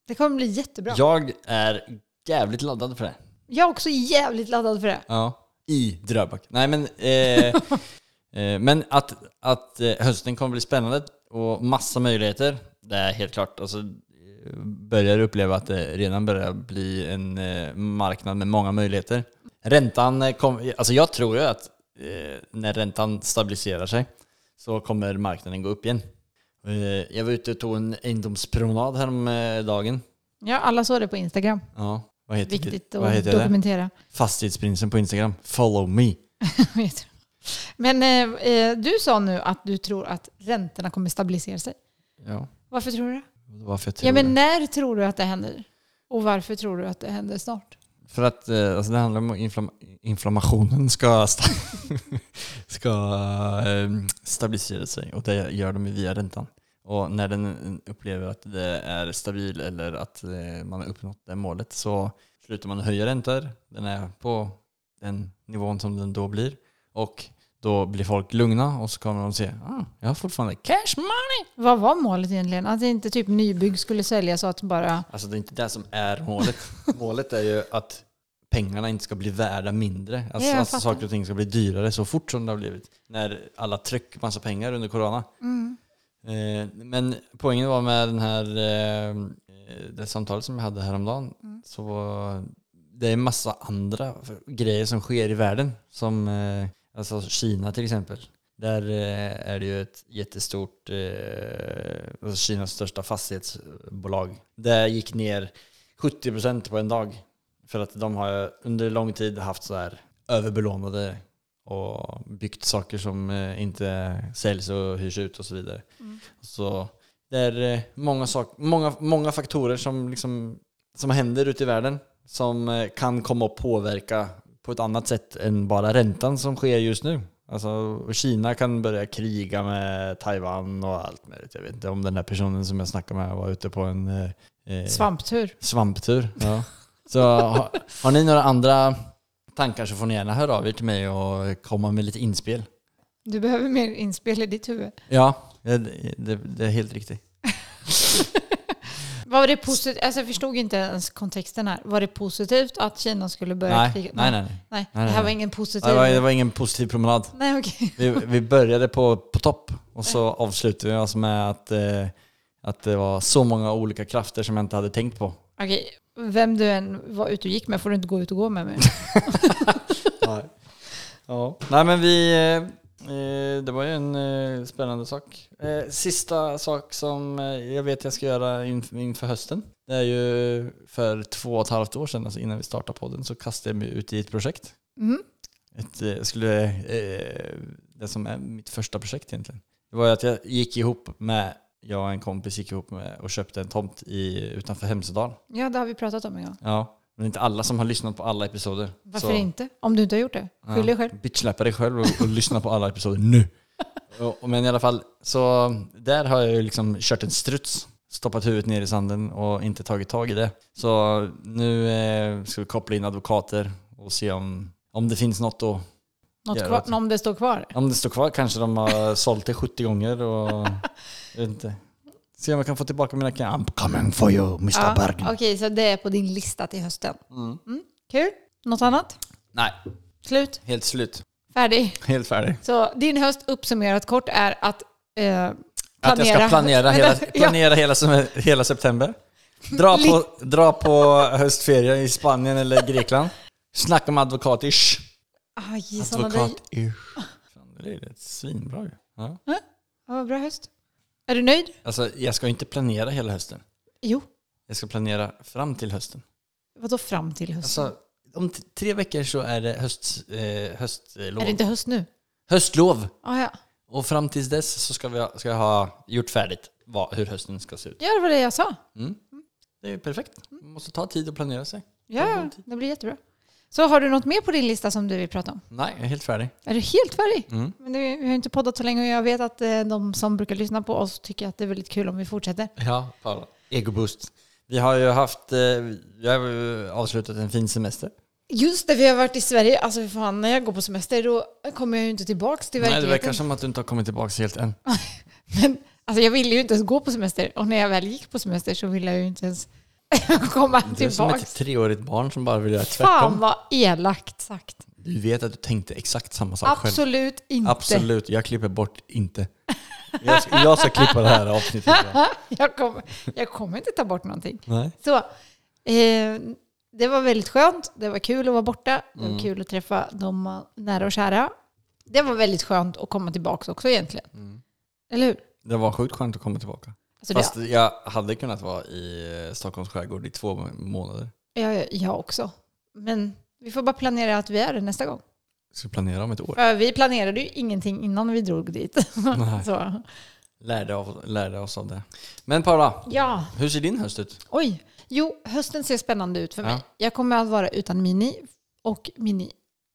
Speaker 3: Det kommer bli jättebra.
Speaker 2: Jag är jävligt laddad för det.
Speaker 3: Jag är också jävligt laddad för det.
Speaker 2: Ja. I Dröbak. Nej men, eh, eh, men att, att eh, hösten kommer bli spännande och massa möjligheter, det är helt klart. Alltså, eh, börjar uppleva att det redan börjar bli en eh, marknad med många möjligheter. Räntan eh, kom, alltså jag tror ju att eh, när räntan stabiliserar sig så kommer marknaden gå upp igen. Eh, jag var ute och tog en egendomspromenad häromdagen.
Speaker 3: Ja, alla såg det på Instagram.
Speaker 2: Ja, vad heter,
Speaker 3: Viktigt
Speaker 2: vad
Speaker 3: att
Speaker 2: heter det?
Speaker 3: dokumentera.
Speaker 2: Fastighetsprinsen på Instagram. Follow me.
Speaker 3: Men eh, eh, du sa nu att du tror att räntorna kommer stabilisera sig.
Speaker 2: Ja,
Speaker 3: Varför tror du det?
Speaker 2: varför jag tror
Speaker 3: Ja, men
Speaker 2: det.
Speaker 3: när tror du att det händer? Och varför tror du att det händer snart?
Speaker 2: För att eh, alltså det handlar om att inflam- inflammationen ska, sta- ska eh, stabilisera sig och det gör de ju via räntan. Och när den upplever att det är stabil eller att eh, man har uppnått det målet så slutar man höja räntor. Den är på den nivån som den då blir. Och då blir folk lugna och så kommer de se ah, jag har fortfarande cash money.
Speaker 3: Vad var målet egentligen? Att inte typ nybygg skulle säljas och att bara...
Speaker 2: Alltså det är inte det som är målet. målet är ju att pengarna inte ska bli värda mindre. Alltså,
Speaker 3: Ja, jag
Speaker 2: alltså
Speaker 3: fattar.
Speaker 2: saker och ting ska bli dyrare så fort som det har blivit. När alla tryck massa pengar under corona.
Speaker 3: Mm.
Speaker 2: Eh, men poängen var med den här, eh, det samtalet som jag hade häromdagen.
Speaker 3: Mm.
Speaker 2: Så var- det är massa andra grejer som sker i världen. Som eh, alltså Kina till exempel. Där eh, är det ju ett jättestort, eh, alltså Kinas största fastighetsbolag. Det gick ner 70% på en dag. För att de har under lång tid haft så här överbelånade och byggt saker som eh, inte säljs och hyrs ut och så vidare. Så det är eh, många, sak, många, många faktorer som, liksom, som händer ute i världen som eh, kan komma att påverka på ett annat sätt än bara räntan som sker just nu. Alltså, och Kina kan börja kriga med Taiwan och allt möjligt. Jag vet inte om den där personen som jag snackade med var ute på en eh, eh,
Speaker 3: Svamptur.
Speaker 2: Svamptur. Ja. Så har, har ni några andra tankar så får ni gärna höra av er till mig och komma med lite inspel.
Speaker 3: Du behöver mer inspel i ditt huvud.
Speaker 2: Ja, det, det, det är helt riktigt.
Speaker 3: Var det positivt? Alltså jag förstod inte ens kontexten här. Var det positivt att Kina skulle börja
Speaker 2: Nej, nej,
Speaker 3: kriga?
Speaker 2: nej. nej.
Speaker 3: nej.
Speaker 2: nej,
Speaker 3: det här
Speaker 2: nej.
Speaker 3: var ingen positiv...
Speaker 2: Det, var, det var ingen positiv promenad.
Speaker 3: Nej, okej.
Speaker 2: Vi, vi började på, på topp och så avslutade vi oss med att, eh, att det var så många olika krafter som jag inte hade tänkt på.
Speaker 3: Okej, vem du än var ute och gick med får du inte gå ut och gå med mig.
Speaker 2: Nej. Ja. Nej men vi, eh, eh, det var ju en eh, spännande sak. Eh, Sista sak som eh, jag vet jag ska göra inf- inför hösten. Det är ju för två och ett halvt år sedan, alltså innan vi startade podden, så kastade jag mig ut i ett projekt.
Speaker 3: Mm.
Speaker 2: Ett, eh, skulle, eh, det som är mitt första projekt egentligen. Det var ju att jag gick ihop med, jag och en kompis gick ihop med och köpte en tomt i, utanför Hemsedal.
Speaker 3: Ja, det har vi pratat om en gång.
Speaker 2: Ja. Men inte alla som har lyssnat på alla episoder.
Speaker 3: Varför
Speaker 2: så-
Speaker 3: inte? Om du inte har gjort det. Skyll dig själv.
Speaker 2: Bitchlappa dig själv och, och lyssna på alla episoder nu. Och- Men i alla fall, så där har jag ju liksom kört en struts. Stoppat huvudet ner i sanden och inte tagit tag i det. Så nu eh, ska vi koppla in advokater och se om, om det finns något då.
Speaker 3: Något
Speaker 2: Gör
Speaker 3: kvar,
Speaker 2: det.
Speaker 3: om det står kvar.
Speaker 2: Om det står kvar kanske de har sålt det 70 gånger och... Jag vet inte. Se om jag kan få tillbaka mina pengar. I'm coming for you, Mr.
Speaker 3: Ja,
Speaker 2: Bergen.
Speaker 3: Okej, så det är på din lista till hösten. Mm, kul. Något annat?
Speaker 2: Nej,
Speaker 3: Slut.
Speaker 2: helt slut.
Speaker 3: Färdig.
Speaker 2: Helt färdig.
Speaker 3: Så din höst uppsummerat kort är att eh, planera.
Speaker 2: Att jag ska planera, hela,
Speaker 3: ja,
Speaker 2: planera hela, sem- hela september. Dra på, dra på höstferie i Spanien eller Grekland. Snacka med advokatish.
Speaker 3: Aj, sådana där-
Speaker 2: Advokatish. Fan, Det är rätt svinbra ju. ja.
Speaker 3: Ja, vad bra höst. Är du nöjd?
Speaker 2: Alltså, jag ska inte planera hela hösten.
Speaker 3: Jo.
Speaker 2: Jag ska planera fram till hösten.
Speaker 3: Vadå fram till hösten?
Speaker 2: Alltså, om t- tre veckor så är det höst, eh, höstlov.
Speaker 3: Är det inte höst nu?
Speaker 2: Höstlov!
Speaker 3: Ah, ja.
Speaker 2: Och fram tills dess så ska, vi ha, ska jag ha gjort färdigt vad, hur hösten ska se ut.
Speaker 3: ja, det var det jag sa.
Speaker 2: Det är ju perfekt. Man måste ta tid och planera sig.
Speaker 3: Ja, det blir jättebra. Så har du något mer på din lista som du vill prata om?
Speaker 2: Nej, jag är helt färdig.
Speaker 3: Är du helt färdig?
Speaker 2: Mm.
Speaker 3: Men det, vi har ju inte poddat så länge och jag vet att eh, de som brukar lyssna på oss tycker att det är väldigt kul om vi fortsätter.
Speaker 2: Ja, Paula. Egoboost. Vi har ju haft, eh, vi har ju avslutat en fin semester.
Speaker 3: Just det, vi har varit i Sverige. Alltså för fan, när jag går på semester då kommer jag ju inte tillbaka
Speaker 2: Nej,
Speaker 3: till
Speaker 2: det
Speaker 3: verkligheten.
Speaker 2: verkar som att du inte har kommit tillbaka helt än.
Speaker 3: Men alltså jag ville ju inte ens gå på semester och när jag väl gick på semester så ville jag ju inte ens komma
Speaker 2: Du är som
Speaker 3: tillbaka.
Speaker 2: ett treårigt barn som bara vill göra
Speaker 3: Fan
Speaker 2: tvärtom.
Speaker 3: vad elakt sagt.
Speaker 2: Du vet att du tänkte exakt samma sak själv.
Speaker 3: Absolut inte.
Speaker 2: Absolut, jag klipper bort inte. Jag ska, jag ska klippa det här avsnittet. idag.
Speaker 3: Jag kommer, jag kommer inte ta bort någonting.
Speaker 2: Nej.
Speaker 3: Så, eh, det var väldigt skönt. Det var kul att vara borta. Det
Speaker 2: Mm.
Speaker 3: var kul att träffa de man- nära och kära. Det var väldigt skönt att komma tillbaka också egentligen. Eller hur?
Speaker 2: Det var sjukt skönt att komma tillbaka.
Speaker 3: Alltså,
Speaker 2: Mm. Fast jag hade kunnat vara i eh, Stockholms skärgård i två må- månader.
Speaker 3: det, jag, jag också. Men vi får bara planera att vi är det nästa gång.
Speaker 2: Jag ska planera om ett år.
Speaker 3: För vi planerade ju ingenting innan vi drog dit.
Speaker 2: Nej.
Speaker 3: Så,
Speaker 2: Lärde, av, lärde oss av det. Men Paula,
Speaker 3: ja.
Speaker 2: hur ser din höst ut?
Speaker 3: Oj. Jo, hösten ser spännande ut för mig.
Speaker 2: Ja.
Speaker 3: Jag kommer att vara utan Mini och Mini.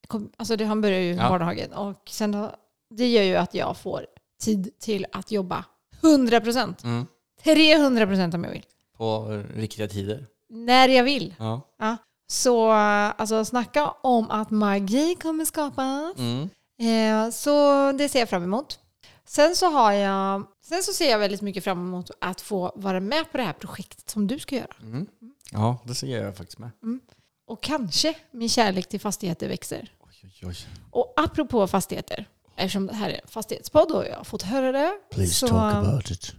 Speaker 3: kom- Alltså det, han börjar ju i
Speaker 2: Ja.
Speaker 3: barnhagen. Och sen då, det gör ju att jag får tid till att jobba 100 procent.
Speaker 2: Mm.
Speaker 3: 300 procent om jag vill.
Speaker 2: På riktiga tider?
Speaker 3: När jag vill.
Speaker 2: Ja.
Speaker 3: Ja. Så alltså snacka om att magi kommer skapas.
Speaker 2: Mm.
Speaker 3: Eh, så det ser jag fram emot. Sen så, har jag, sen så ser jag väldigt mycket fram emot att få vara med på det här projektet som du ska göra.
Speaker 2: Ja, det ser jag faktiskt med.
Speaker 3: Mm. Och kanske min kärlek till fastigheter växer.
Speaker 2: Oj, oj, oj.
Speaker 3: Och apropå fastigheter, eftersom det här är en fastighetspodd och jag har fått höra det. så,
Speaker 2: it.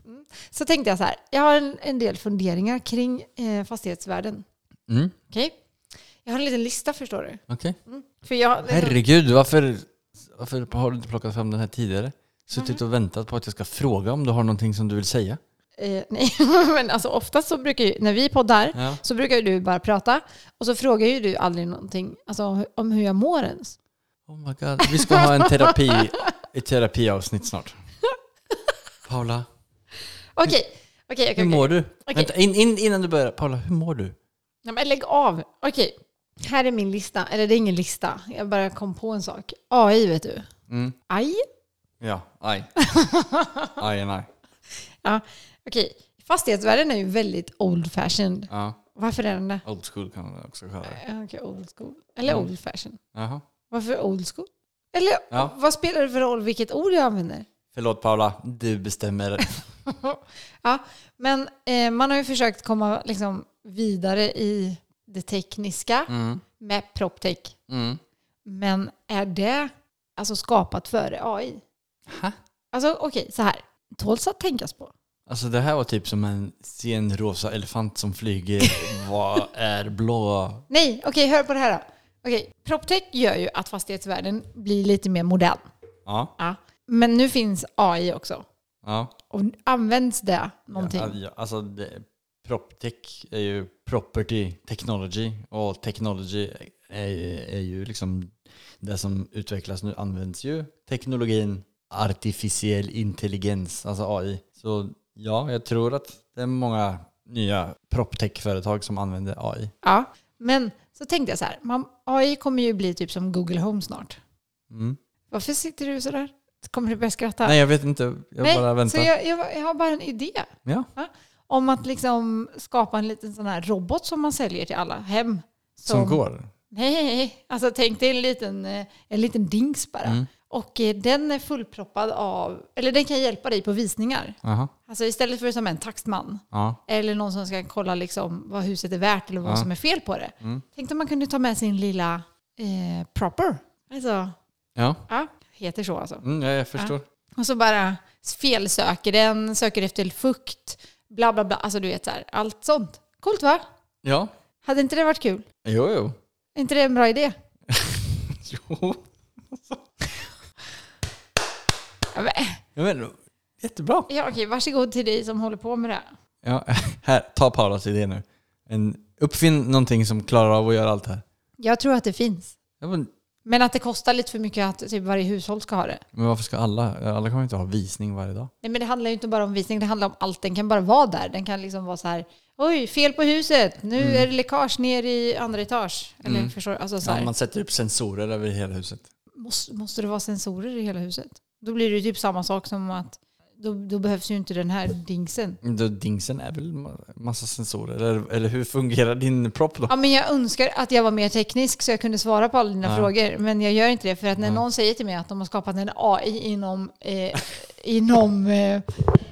Speaker 3: så tänkte jag så här, jag har en, en del funderingar kring eh, fastighetsvärden.
Speaker 2: Mm.
Speaker 3: Okej? Jag har en liten lista förstår du.
Speaker 2: Okej.
Speaker 3: För jag, eh,
Speaker 2: Herregud, varför, varför har du inte plockat fram den här tidigare? Suttit och väntat på att jag ska fråga om du har någonting som du vill säga.
Speaker 3: Eh, nej, men alltså oftast så brukar ju, när vi poddar,
Speaker 2: Ja.
Speaker 3: så brukar ju du bara prata och så frågar ju du aldrig någonting alltså, om- om hur jag mår ens.
Speaker 2: Oh my god, vi ska ha en terapi, ett terapiavsnitt snart. Paula,
Speaker 3: Okej, okej, okej.
Speaker 2: hur
Speaker 3: okej.
Speaker 2: mår du?
Speaker 3: Okej.
Speaker 2: Vänta, in, in, innan du börjar. Paula, hur mår du?
Speaker 3: Ja, men lägg av. Okej, här är min lista. Eller det är ingen lista, jag bara kom på en sak. AI vet du.
Speaker 2: Mm.
Speaker 3: AI?
Speaker 2: Ja, aj. Aj, aj, aj.
Speaker 3: Ja, okej. Fastighetsvärden är ju väldigt old fashioned.
Speaker 2: Ja,
Speaker 3: Varför är den det?
Speaker 2: old school kan man också kalla det.
Speaker 3: Ja, Eh, Okej, old school. Eller old fashion.
Speaker 2: Jaha.
Speaker 3: Varför old school? Eller
Speaker 2: Ja.
Speaker 3: vad spelar det för roll vilket ord jag använder?
Speaker 2: Förlåt Paula, du bestämmer.
Speaker 3: Ja, men eh, man har ju försökt komma liksom, vidare i det tekniska
Speaker 2: Mm.
Speaker 3: med proptech.
Speaker 2: Mm.
Speaker 3: Men är det alltså, skapat före AI?
Speaker 2: Ha?
Speaker 3: Alltså okej, så här. Tåls att tänkas på.
Speaker 2: Alltså det här var typ som en sen rosa elefant som flyger. Vad är blå?
Speaker 3: Nej, okej, hör på det här då. Okej, proptech gör ju att fastighetsvärlden blir lite mer modern.
Speaker 2: Ja,
Speaker 3: Ja. Men nu finns AI också.
Speaker 2: ja.
Speaker 3: Och används det någonting?
Speaker 2: Ja, ja, alltså det, proptech är ju property technology och technology är, är ju liksom det som utvecklas nu används ju teknologin artificiell intelligens, alltså AI. Så ja, jag tror att det är många nya proptech-företag som använder AI.
Speaker 3: Ja. Men så tänkte jag så här, man, AI kommer ju bli typ som Google Home snart.
Speaker 2: Mm.
Speaker 3: Varför sitter du sådär? Kommer du börja skratta?
Speaker 2: Nej, jag vet inte. Jag
Speaker 3: Nej,
Speaker 2: bara väntar.
Speaker 3: Så jag, jag, jag har bara en idé.
Speaker 2: Ja.
Speaker 3: Om att liksom skapa en liten sån här robot som man säljer till alla hem.
Speaker 2: Som, går.
Speaker 3: Nej, alltså tänk dig en liten, eh, en liten dings bara.
Speaker 2: Mm.
Speaker 3: Och eh, den är fullproppad av, eller den kan hjälpa dig på visningar.
Speaker 2: Aha.
Speaker 3: Alltså istället för som en taxman
Speaker 2: Ja.
Speaker 3: eller någon som ska kolla liksom vad huset är värt eller vad som är fel på det. Tänk om man kunde ta med sin lilla eh, proper. Alltså,
Speaker 2: ja.
Speaker 3: ja, heter så alltså.
Speaker 2: Mm, ja, jag förstår.
Speaker 3: Och så bara felsöker den, söker efter fukt, bla bla bla. Alltså du vet så här, allt sånt. Coolt va?
Speaker 2: Ja.
Speaker 3: Hade inte det varit kul?
Speaker 2: Jo, jo.
Speaker 3: Är inte det en bra idé?
Speaker 2: jo.
Speaker 3: Ja, men-
Speaker 2: Jag vet, inte. jättebra.
Speaker 3: Ja, okej, varsågod till dig som håller på med det. här.
Speaker 2: Ja, här, ta Paulas idé nu. En, uppfinn någonting som klarar av att göra allt det här.
Speaker 3: Jag tror att det finns.
Speaker 2: Ja, men,
Speaker 3: Men att det kostar lite för mycket att typ varje hushåll ska ha det.
Speaker 2: men varför ska alla, alla kommer inte ha visning varje dag?
Speaker 3: Nej, men det handlar ju inte bara om visning, det handlar om allt. Den kan bara vara där. Den kan liksom vara så här, oj, fel på huset, nu är det läckage ner i andra etage. Eller förstår du? Alltså så här,
Speaker 2: Mm. Ja, man sätter upp sensorer över hela huset.
Speaker 3: måste, måste det vara sensorer i hela huset? Då blir det ju typ samma sak som att då, då behövs ju inte den här dingsen.
Speaker 2: Då, dingsen är väl ma- massa sensorer? Eller, eller hur fungerar din propp då?
Speaker 3: Ja, men jag önskar att jag var mer teknisk så jag kunde svara på alla dina
Speaker 2: Ja.
Speaker 3: frågor. Men jag gör inte det för att när någon säger till mig att de har skapat en AI inom, eh, inom eh,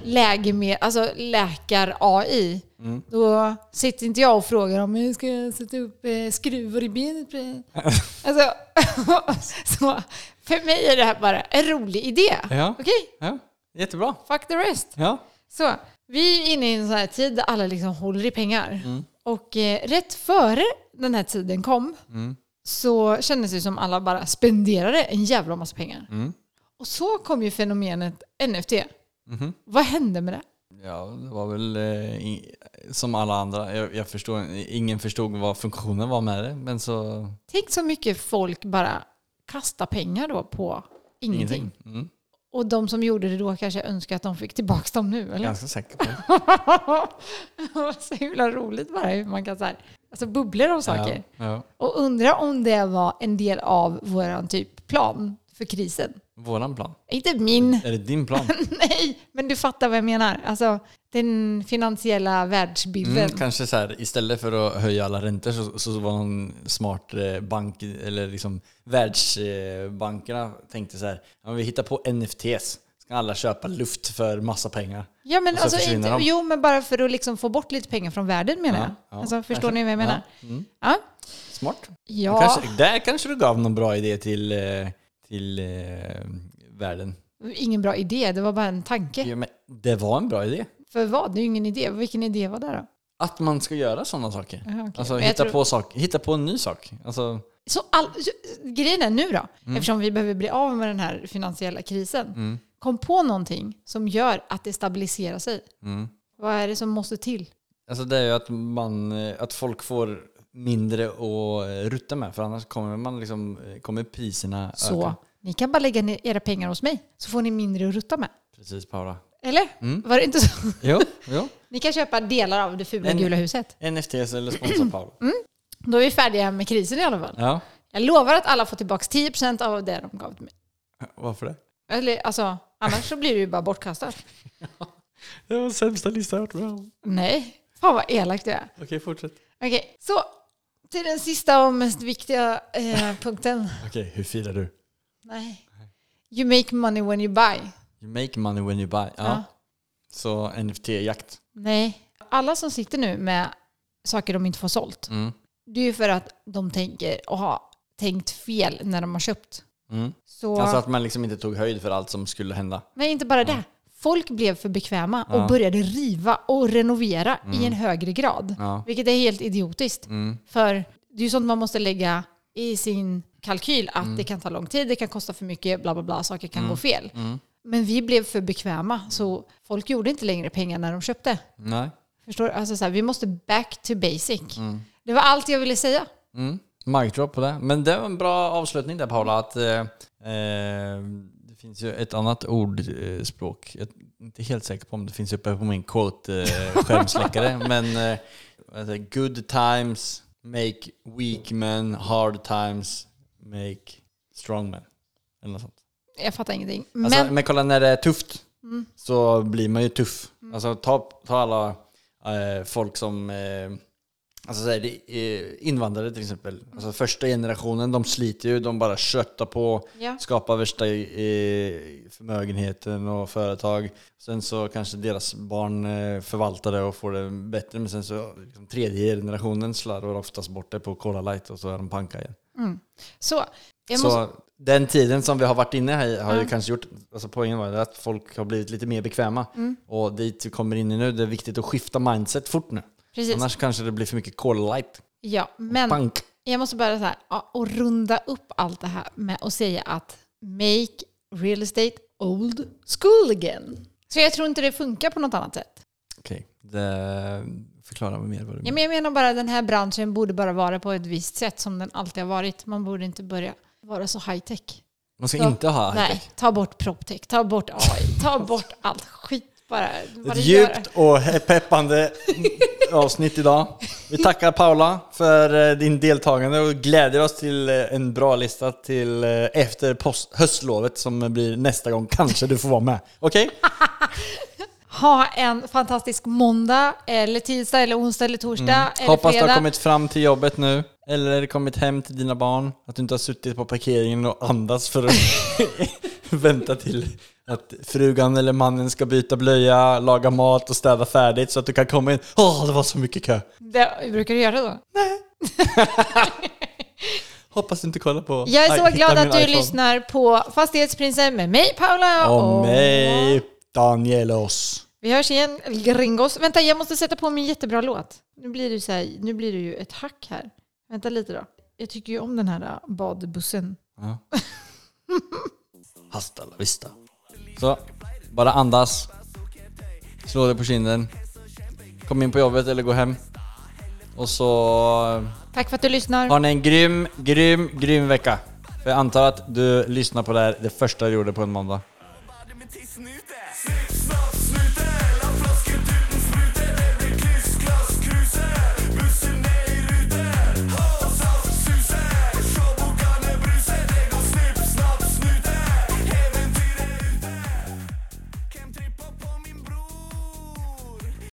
Speaker 3: läkeme- alltså läkar-AI,
Speaker 2: Mm.
Speaker 3: då sitter inte jag och frågar om hur ska jag sätta upp eh, skruvar i benet på dig?" Alltså, så för mig är det här bara en rolig idé.
Speaker 2: Ja.
Speaker 3: Okej,
Speaker 2: Ja, jättebra.
Speaker 3: fuck the rest.
Speaker 2: Ja.
Speaker 3: Så, vi är inne i en sån här tid där alla liksom håller i pengar.
Speaker 2: Mm.
Speaker 3: Och eh, rätt före den här tiden kom
Speaker 2: Mm.
Speaker 3: så kändes det som alla bara spenderade en jävla massa pengar.
Speaker 2: Mm.
Speaker 3: Och så kom ju fenomenet NFT.
Speaker 2: Mhm.
Speaker 3: Vad hände med det?
Speaker 2: Ja, det var väl eh, i- som alla andra. Jag, jag förstår, ingen förstod vad funktionen var med det, men så
Speaker 3: Tänk så mycket folk bara kastar pengar då på ingenting.
Speaker 2: ingenting. Mm.
Speaker 3: Och de som gjorde det då kanske önskar att de fick tillbaka dem nu, eller?
Speaker 2: Ganska säker på det.
Speaker 3: så himla roligt bara hur man kan så här, alltså bubblor av saker.
Speaker 2: Ja, ja.
Speaker 3: Och undra om det var en del av vår typ plan för krisen.
Speaker 2: Våran plan.
Speaker 3: Inte min,
Speaker 2: Är det din plan?
Speaker 3: nej, men du fattar vad jag menar. Alltså den finansiella världsbilden.
Speaker 2: Mm, kanske så här, istället för att höja alla räntor så, så var någon smart eh, bank, eller liksom världsbankerna tänkte så här, ja, men vi hittar på NFTs, ska alla köpa luft för massa pengar.
Speaker 3: Ja, men
Speaker 2: Och så
Speaker 3: alltså
Speaker 2: försvinner
Speaker 3: inte,
Speaker 2: de.
Speaker 3: jo, men bara för att liksom få bort lite pengar från världen menar
Speaker 2: Ja,
Speaker 3: jag.
Speaker 2: ja,
Speaker 3: alltså, förstår
Speaker 2: kanske.
Speaker 3: ni vad jag menar?
Speaker 2: Ja, mm.
Speaker 3: Ja.
Speaker 2: Smart.
Speaker 3: Ja.
Speaker 2: Kanske, där kanske du gav någon bra idé till, eh, till eh, världen.
Speaker 3: Ingen bra idé, det var bara en tanke.
Speaker 2: Ja, men det var en bra idé.
Speaker 3: För vad? Det är ju ingen idé. Vilken idé var det då?
Speaker 2: Att man ska göra sådana saker.
Speaker 3: Ja, Mm, okej.
Speaker 2: Alltså
Speaker 3: Men jag
Speaker 2: hitta,
Speaker 3: tror-
Speaker 2: på sak, hitta på en ny sak. Alltså,
Speaker 3: Så all, så, grejen är nu då, eftersom vi behöver bli av med den här finansiella krisen, kom på någonting som gör att det stabiliserar sig. Vad är det som måste till?
Speaker 2: alltså det är ju att, man, eh, att folk får mindre att eh, rutta med för annars kommer, man liksom, eh, kommer priserna
Speaker 3: Så
Speaker 2: öka.
Speaker 3: ni kan bara lägga ner era pengar hos mig, så får ni mindre att rutta med.
Speaker 2: Precis Paula.
Speaker 3: Eller? Var det inte så?
Speaker 2: Jo, jo.
Speaker 3: Ni kan köpa delar av det fula
Speaker 2: Men-
Speaker 3: gula huset.
Speaker 2: NFTs eller sponsra Paula.
Speaker 3: Mm. Då är vi färdiga med krisen i alla fall.
Speaker 2: Ja.
Speaker 3: Jag lovar att alla får tillbaka 10% av det de gav till mig.
Speaker 2: Varför det?
Speaker 3: Eller, alltså, annars så blir det ju bara bortkastat.
Speaker 2: Det var sämsta lista jag har varit med om.
Speaker 3: Nej, fan vad elakt du är.
Speaker 2: Okej, fortsätt.
Speaker 3: Okej, så till den sista och mest viktiga eh, punkten.
Speaker 2: Okej, hur firar du?
Speaker 3: Nej. You make money when you buy.
Speaker 2: You make money when you buy. Ja.
Speaker 3: Ja.
Speaker 2: Så NFT-jakt.
Speaker 3: Nej. Alla som sitter nu med saker de inte får sålt,
Speaker 2: Mm.
Speaker 3: det är ju för att de tänker och har tänkt fel när de har köpt.
Speaker 2: Mm.
Speaker 3: Så,
Speaker 2: Alltså att man liksom inte tog höjd för allt som skulle hända.
Speaker 3: men inte bara det. Folk blev för bekväma och
Speaker 2: Mm. Ja. Mm.
Speaker 3: började riva och renovera i en högre grad.
Speaker 2: Ja.
Speaker 3: Vilket är helt idiotiskt.
Speaker 2: Mm.
Speaker 3: För det är ju sånt man måste lägga i sin kalkyl. Att
Speaker 2: Mm.
Speaker 3: det kan ta lång tid, det kan kosta för mycket, bla bla bla, saker kan gå fel.
Speaker 2: Mm.
Speaker 3: Men vi blev för bekväma, så folk gjorde inte längre pengar när de köpte.
Speaker 2: Nej.
Speaker 3: Förstår du? Alltså så här, vi måste back to basic. Det var allt jag ville säga.
Speaker 2: Mm. Mic drop på det. Men det var en bra avslutning där Paula. Att, eh, eh, det finns ju ett annat ordspråk. Jag är inte helt säker på om det finns uppe på min quote-skärmsläckare. men eh, vad heter det? good times make weak men. Hard times make strong men. Eller något sånt.
Speaker 3: Jag fattar ingenting. Men
Speaker 2: Alltså, men kolla när det är tufft så blir man ju tuff. Alltså ta, ta alla eh, folk som, eh, alltså så här, det, eh, invandrare till exempel. Alltså första generationen, de sliter ju, de bara köttar på,
Speaker 3: Ja.
Speaker 2: skapar värsta eh, förmögenheten och företag. Sen så kanske deras barn eh, förvaltar det och får det bättre, men sen så liksom, tredje generationen slarvar oftast bort det på Cola Light och så är de panka igen.
Speaker 3: så, jag
Speaker 2: Så
Speaker 3: måste,
Speaker 2: den tiden som vi har varit inne här i har ju kanske gjort, alltså poängen var ju att folk har blivit lite mer bekväma.
Speaker 3: Mm.
Speaker 2: Och dit vi kommer in i nu, det är viktigt att skifta mindset fort nu.
Speaker 3: precis.
Speaker 2: Annars kanske det blir för mycket cola light.
Speaker 3: ja, men
Speaker 2: Pank.
Speaker 3: jag måste bara så här, ja, och runda upp allt det här med att säga att make real estate old school again. Så jag tror inte det funkar på något annat sätt.
Speaker 2: Okej, Det- förklara mer vad du
Speaker 3: Ja,
Speaker 2: menar.
Speaker 3: men jag menar bara den här branschen borde bara vara på ett visst sätt som den alltid har varit. Man borde inte börja vara så high tech.
Speaker 2: Man ska
Speaker 3: så-
Speaker 2: inte ha
Speaker 3: Nej, ta bort proptech, ta bort AI, ta bort allt skit bara. Vad det
Speaker 2: Ett
Speaker 3: gör.
Speaker 2: djupt och peppande avsnitt idag. Vi tackar Paula för eh, din deltagande och gläder oss till eh, en bra lista till eh, efter post- höstlovet som blir nästa gång. Kanske du får vara med. Okej?
Speaker 3: Ha en fantastisk måndag, eller tisdag, eller onsdag, eller torsdag, eller
Speaker 2: Mm. Hoppas du
Speaker 3: fredag.
Speaker 2: har kommit fram till jobbet nu. Eller kommit hem till dina barn. Att du inte har suttit på parkeringen och andats för att vänta till att frugan eller mannen ska byta blöja, laga mat och städa färdigt så att du kan komma in. Åh, det var så mycket kö.
Speaker 3: Det, brukar du göra då?
Speaker 2: Hoppas du inte kollar på...
Speaker 3: Jag är
Speaker 2: Aj,
Speaker 3: så
Speaker 2: hitta
Speaker 3: glad
Speaker 2: min
Speaker 3: att du
Speaker 2: iPhone.
Speaker 3: lyssnar på Fastighetsprinsen med mig Paula
Speaker 2: Och mig, Danielos.
Speaker 3: Vi hörs igen, gringos. Vänta, jag måste sätta på min jättebra låt. Nu blir du, så här, nu blir du ju ett hack här. Vänta lite då. Jag tycker ju om den här äh, badbussen.
Speaker 2: Hasta la vista. Så, bara andas. Slå dig på kinden. Kom in på jobbet eller gå hem. Och så
Speaker 3: Tack för att du lyssnar.
Speaker 2: Har ni en grym, grym, grym vecka? För jag antar att du lyssnar på det här det första du gjorde på en måndag.
Speaker 4: Body med tissen ute